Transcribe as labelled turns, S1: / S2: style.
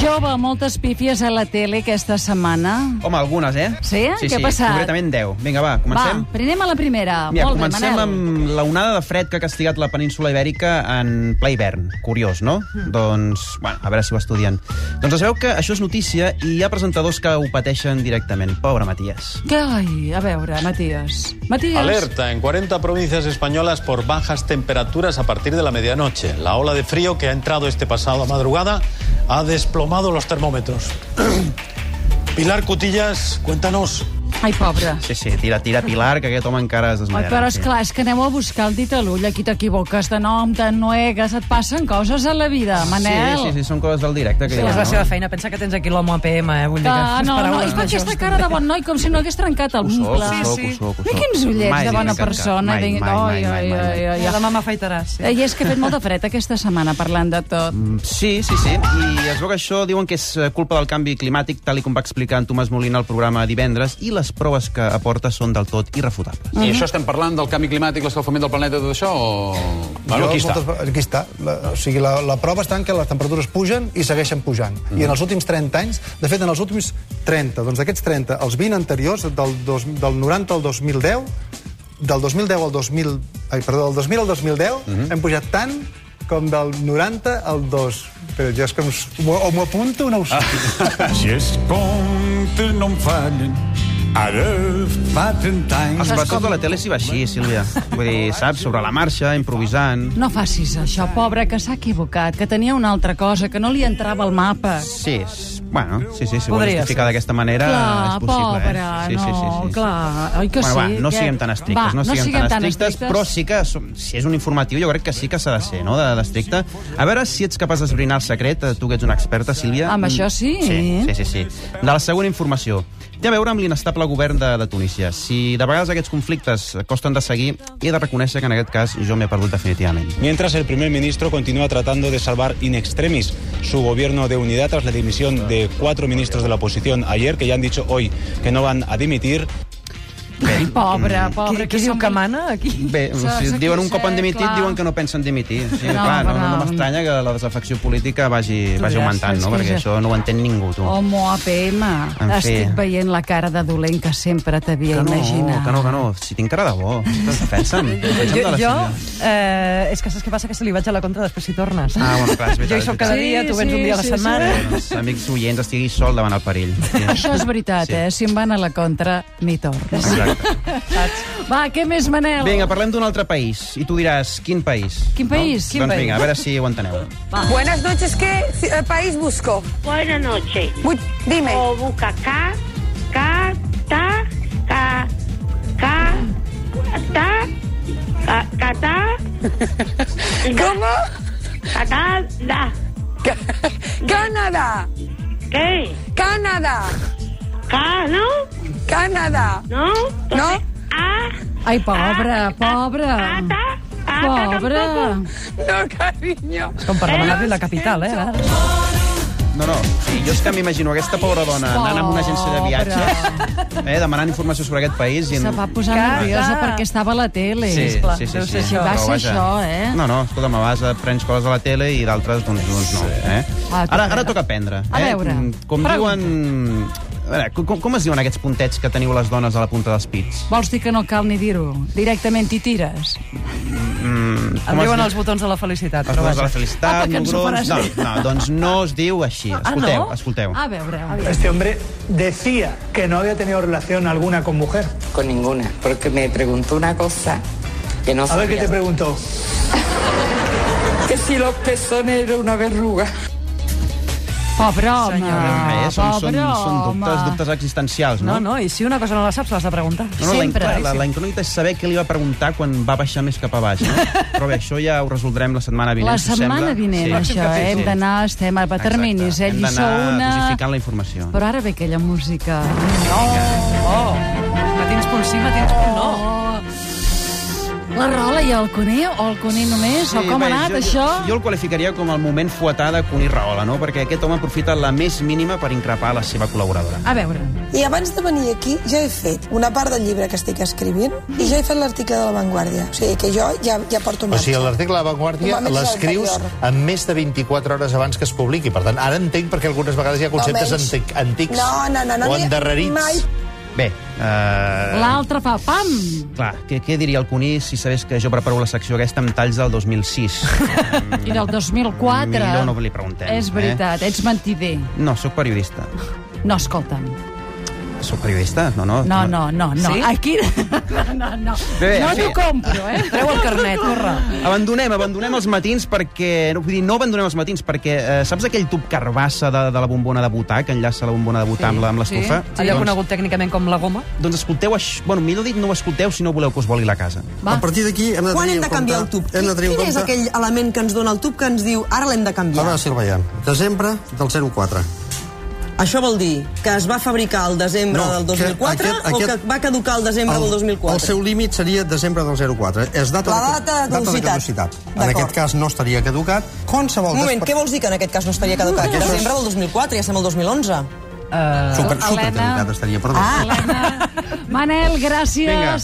S1: troba moltes pífies a la tele aquesta setmana?
S2: Home, algunes, eh?
S1: Sí?
S2: Sí,
S1: Què ha
S2: sí,
S1: passat?
S2: concretament 10. Vinga, va, comencem?
S1: Va, anem a la primera.
S2: Mira,
S1: Molt
S2: comencem
S1: bé, Manel.
S2: amb la onada de fred que ha castigat la península ibèrica en ple hivern. Curiós, no?
S1: Mm.
S2: Doncs, bueno, a veure si ho estudien. Doncs es veu que això és notícia i hi ha presentadors que ho pateixen directament. Pobre Matías.
S1: Que, ai, a veure, Matías. Matías.
S3: Alerta en 40 provincias españolas por bajas temperaturas a partir de la medianoche. La ola de frío que ha entrado este pasado madrugada ha desplomado los termómetros. Pilar Cutillas, cuéntanos.
S1: Ai, pobre.
S2: Sí, sí, tira, tira, Pilar, que aquest home encara es
S1: Ai,
S2: desmaiarà.
S1: però és
S2: sí.
S1: clar, és que aneu a buscar el dit a l'ull, aquí t'equivoques de nom, t'ennuegues, et passen coses a la vida, Manel.
S2: Sí, sí, sí, són coses del directe. Que
S4: Sí,
S2: hi ha,
S4: és la
S2: no?
S4: seva feina. Pensa que tens aquí l'home APM, eh? Vull dir que
S1: Ah,
S4: les
S1: no, no,
S4: paraules
S1: és per aquesta
S4: majors
S1: cara de
S4: també.
S1: bon noi, com si no hagués trencat el
S2: Ho
S1: muscle.
S2: soc, ho soc, ho soc, ho soc.
S1: I quins ullets
S2: Mai
S1: de bona
S2: dic cap-
S1: persona.
S2: mai,
S1: Vinga,
S2: mai,
S1: ai,
S2: mai,
S1: ai,
S2: mai,
S1: ai, ai,
S4: Ja
S1: ai.
S4: la mama afaitaràs. Sí.
S1: I és que ha fet molta fred aquesta setmana parlant de tot.
S2: Mm, Sí, sí, sí. I es veu que això diuen que és eh, culpa del canvi climàtic, tal i com va explicar en Tomàs Molina al programa divendres, i les proves que aporta són del tot irrefutables.
S5: I això estem parlant del canvi climàtic, l'escalfament del planeta, tot això, o...
S3: Bueno, aquí està.
S6: moltes ve- Aquí està. La, o sigui, la, la prova està en que les temperatures pugen i segueixen pujant. Mm. I en els últims 30 anys, de fet, en els últims 30, doncs d'aquests 30, els 20 anteriors, del, dos, del 90 al 2010, del 2010 al 2000... Ai, perdó, del 2000 al 2010,
S3: Mhm.
S6: hem pujat tant com del 90 al 2. Però jo és que us- m'ho- o m'ho apunto o no ho sé.
S3: Ah.
S7: Gestpunten omvallen, alle Patentijn.
S2: Els passos de la tele s'hi va així, Sílvia. Vull dir, saps, sobre la marxa, improvisant...
S1: No facis això, pobre, que s'ha equivocat, que tenia una altra cosa, que no li entrava al mapa.
S2: Sí, és- bueno, sí, sí, si ho vols
S4: Podria
S2: justificar
S4: ser.
S2: d'aquesta manera
S1: clar,
S2: Ah, és possible.
S1: pobre,
S2: eh?
S1: no, clar, oi que
S2: bueno, va,
S1: sí?
S2: no
S1: Què?
S2: siguem tan estrictes,
S1: Va,
S2: no siguem, tan, estrictes,
S1: estrictes.
S2: però sí que, som- si és un informatiu, jo crec que sí que s'ha de ser, no?, de- d'estricte. A veure si ets capaç d'esbrinar el secret, eh, tu que ets una experta, Sílvia.
S1: Amb
S2: Mm,
S1: això sí.
S2: Sí, sí, sí, sí. De la següent informació. Té a veure amb l'inestable govern de, de Tunísia. Si de vegades aquests conflictes costen de seguir, he de reconèixer que en aquest cas jo m'he perdut definitivament.
S8: Mientras el primer ministro continúa tratando de salvar in extremis su gobierno de unidad tras la dimisión de cuatro ministros de la oposición ayer, que ya han dicho hoy que no van a dimitir.
S1: Ai, pobre,
S2: Mm.
S1: pobre.
S4: Qui, qui diu
S1: som-
S4: que mana, aquí?
S2: Bé,
S1: Això
S2: si
S1: s'ha
S2: diuen un
S1: de
S2: cop
S1: ser,
S2: han dimitit,
S1: clar.
S2: diuen que no pensen dimitir. O sigui,
S1: No,
S2: no, clar, no, no
S1: però-
S2: m'estranya que la desafecció política vagi,
S4: Tu
S2: vagi
S4: ja
S2: augmentant,
S4: saps
S2: no?
S4: que
S2: Perquè
S4: ja-
S2: això no ho entén ningú, tu.
S1: Homo APM,
S2: En
S1: estic
S2: fi.
S1: veient la cara de dolent que sempre
S2: que
S1: t'havia
S2: no,
S1: imaginat.
S2: que no, que no. Si tinc cara de bo. Defensa'm. Defensa'm de
S4: Jo,
S2: la
S4: jo
S2: Sílvia.
S4: eh, és que saps què passa? Que se li vaig a la contra després si tornes.
S2: Ah, bueno, clar, és veritat,
S4: Jo hi
S2: és
S4: soc cada
S1: veritat.
S4: dia,
S1: Sí,
S4: tu vens un dia a
S1: sí,
S4: la
S1: sí,
S4: setmana.
S1: sí.
S2: Els amics oients, estiguis sol davant el perill. Sí.
S1: Això és veritat,
S2: Sí.
S1: eh? Si em van a la contra, m'hi tornes.
S2: Exacte.
S1: Va, què més, Manel?
S2: Vinga, parlem d'un altre país. I tu diràs, quin país?
S1: Quin país?
S2: No?
S1: Quin
S2: doncs
S1: país?
S2: vinga, a veure si ho enteneu.
S9: Buenas noches, ¿qué eh, país busco?
S10: Buenas noches.
S9: Bu- dime.
S6: Oh,
S10: O busca ca, ca, ta, ca, ca, ta, ca, ca, ta,
S9: ¿Cómo?
S10: ca, ta, da.
S9: Ca- Canadá.
S10: ¿Qué?
S9: Canadá.
S10: Ca, ¿no?
S9: Canadá.
S10: ¿No? Entonces, A,
S1: Ai, pobre,
S10: a,
S1: pobre.
S10: A, a, ta, a,
S4: Ah,
S10: ta
S1: Pobre.
S10: tampoco.
S9: No, cariño.
S4: És com per demanar-li la capital, eh? Ara.
S2: No, no, sí, jo és que m'imagino aquesta pobra dona anant amb una agència de viatges, eh, demanant informació sobre aquest país i...
S1: Se va posar
S4: Cara.
S1: nerviosa perquè estava a la tele.
S2: Sí,
S4: Sisplau,
S2: sí, sí,
S4: deu
S2: sí.
S4: ser això.
S2: Però,
S1: Va ser
S2: vaja,
S1: això, eh?
S2: No, no, escolta'm, a vegades aprens coses a la tele i d'altres, doncs, doncs no. Eh?
S1: Ah, toca
S2: Ara, ara
S1: aprendre.
S2: toca aprendre.
S1: A
S2: eh?
S1: veure,
S2: Mm, Com
S1: pregunta.
S2: diuen... A veure, com, com es diuen aquests puntets que teniu les dones a la punta dels pits?
S1: Vols dir que no cal ni dir-ho? Directament t'hi tires?
S4: Em
S2: es
S4: diuen
S2: diu?
S4: els botons de la
S2: Els
S4: felicitat. Però
S2: dones de la
S4: vaja.
S1: Apa,
S2: felicitat,
S1: que ens ho
S2: mugrons... No,
S1: faràs Ah,
S2: no, doncs no es diu així. Escolteu, escolteu.
S1: A veure.
S6: Este hombre decía que no había tenido relación alguna con mujer.
S9: Con ninguna, porque me preguntó una cosa que no
S6: preguntó.
S9: Que si los pezones era una verruga.
S1: Pobre home,
S2: Ah, eh? Són, són,
S1: pobre
S2: són dubtes,
S1: home.
S2: dubtes existencials, no?
S4: No, no, i si una cosa no la saps, l'has de preguntar.
S2: No, no, la,
S1: Sempre.
S2: incò- la, la incògnita és saber què li va preguntar quan va baixar més cap a baix. No? Però bé, això ja ho resoldrem la setmana vinent,
S1: La
S2: si us
S1: setmana
S2: sembla.
S1: vinent,
S2: Sí.
S1: això, eh? Hem d'anar, estem a terminis, eh?
S2: Hem
S1: Lliçó
S2: d'anar
S1: una...
S2: dosificant la informació.
S1: Però ara ve aquella música.
S4: Oh, matins punt sí, matins punt no.
S1: Oh. La rola i el cuner, o el cuner només, o com ha
S2: bé,
S1: anat
S2: jo,
S1: això?
S2: Jo el qualificaria com el moment fuetada Cuní Rahola, no? perquè aquest home aprofita la més mínima per increpar la seva col·laboradora.
S1: A veure.
S9: I abans de venir aquí ja he fet una part del llibre que estic escrivint i ja he fet l'article de La Vanguardia. O sigui que jo ja, ja porto
S3: O
S9: marxa.
S3: sigui, l'article de La Vanguardia
S9: Un moment
S3: l'escrius
S9: anterior.
S3: en més de 24 hores abans que es publiqui. Per tant, ara entenc perquè algunes vegades hi ha conceptes
S9: Almenys.
S3: antic, antics
S9: No, no, no, no,
S3: o
S9: ni-
S3: endarrerits.
S9: mai.
S2: Bé, eh...
S1: L'altre fa pam!
S2: Clar, què, què diria el Cuní si sabés que jo preparo la secció aquesta amb talls del 2006?
S1: I del 2004...
S2: Millor no li eh? preguntem,
S1: És veritat, ets mentider.
S2: No, sóc periodista.
S1: No, escolta'm.
S2: Sóc periodista? No, no.
S1: No, no, no, no.
S4: Sí?
S1: Aquí... No, no, no.
S2: Bé, bé,
S1: no
S2: sí.
S1: t'ho compro, eh?
S4: Treu el carnet, corre.
S2: Abandonem, abandonem els matins perquè... No, vull dir, no abandonem els matins perquè... Eh, saps aquell tub carbassa de, de la bombona de butà, que enllaça la bombona de butà amb la- amb l'estufa?
S4: Sí. Allò conegut tècnicament com la goma.
S2: Doncs, doncs escolteu això... Bueno, millor dit, no ho escolteu si no voleu que us voli la casa.
S1: Va.
S6: A partir d'aquí hem de
S10: Quan
S6: tenir en
S10: hem de
S6: compte...
S10: canviar el tub?
S6: Hem de tenir en
S10: Quin és
S6: compte...
S10: aquell element que ens dona el tub que ens diu ara l'hem de canviar?
S6: Hora de Silvaian, desembre del 04.
S10: Això vol dir que es va fabricar el desembre del 2004
S6: que aquest-
S10: o
S6: aquest-
S10: que va caducar el desembre del 2004?
S6: El seu límit seria desembre del 04. És data,
S10: La data de caducitat.
S6: En
S10: D'acord.
S6: aquest cas no estaria caducat. Qualsevol...
S10: Un moment,
S6: despre-
S10: què vols dir que en aquest cas no estaria caducat?
S6: Aquest és-
S10: Desembre del 2004, ja estem al 2011.
S6: Super, super
S1: Helena.
S6: caducat estaria, perdó.
S1: Manel, gràcies.
S10: Vinga.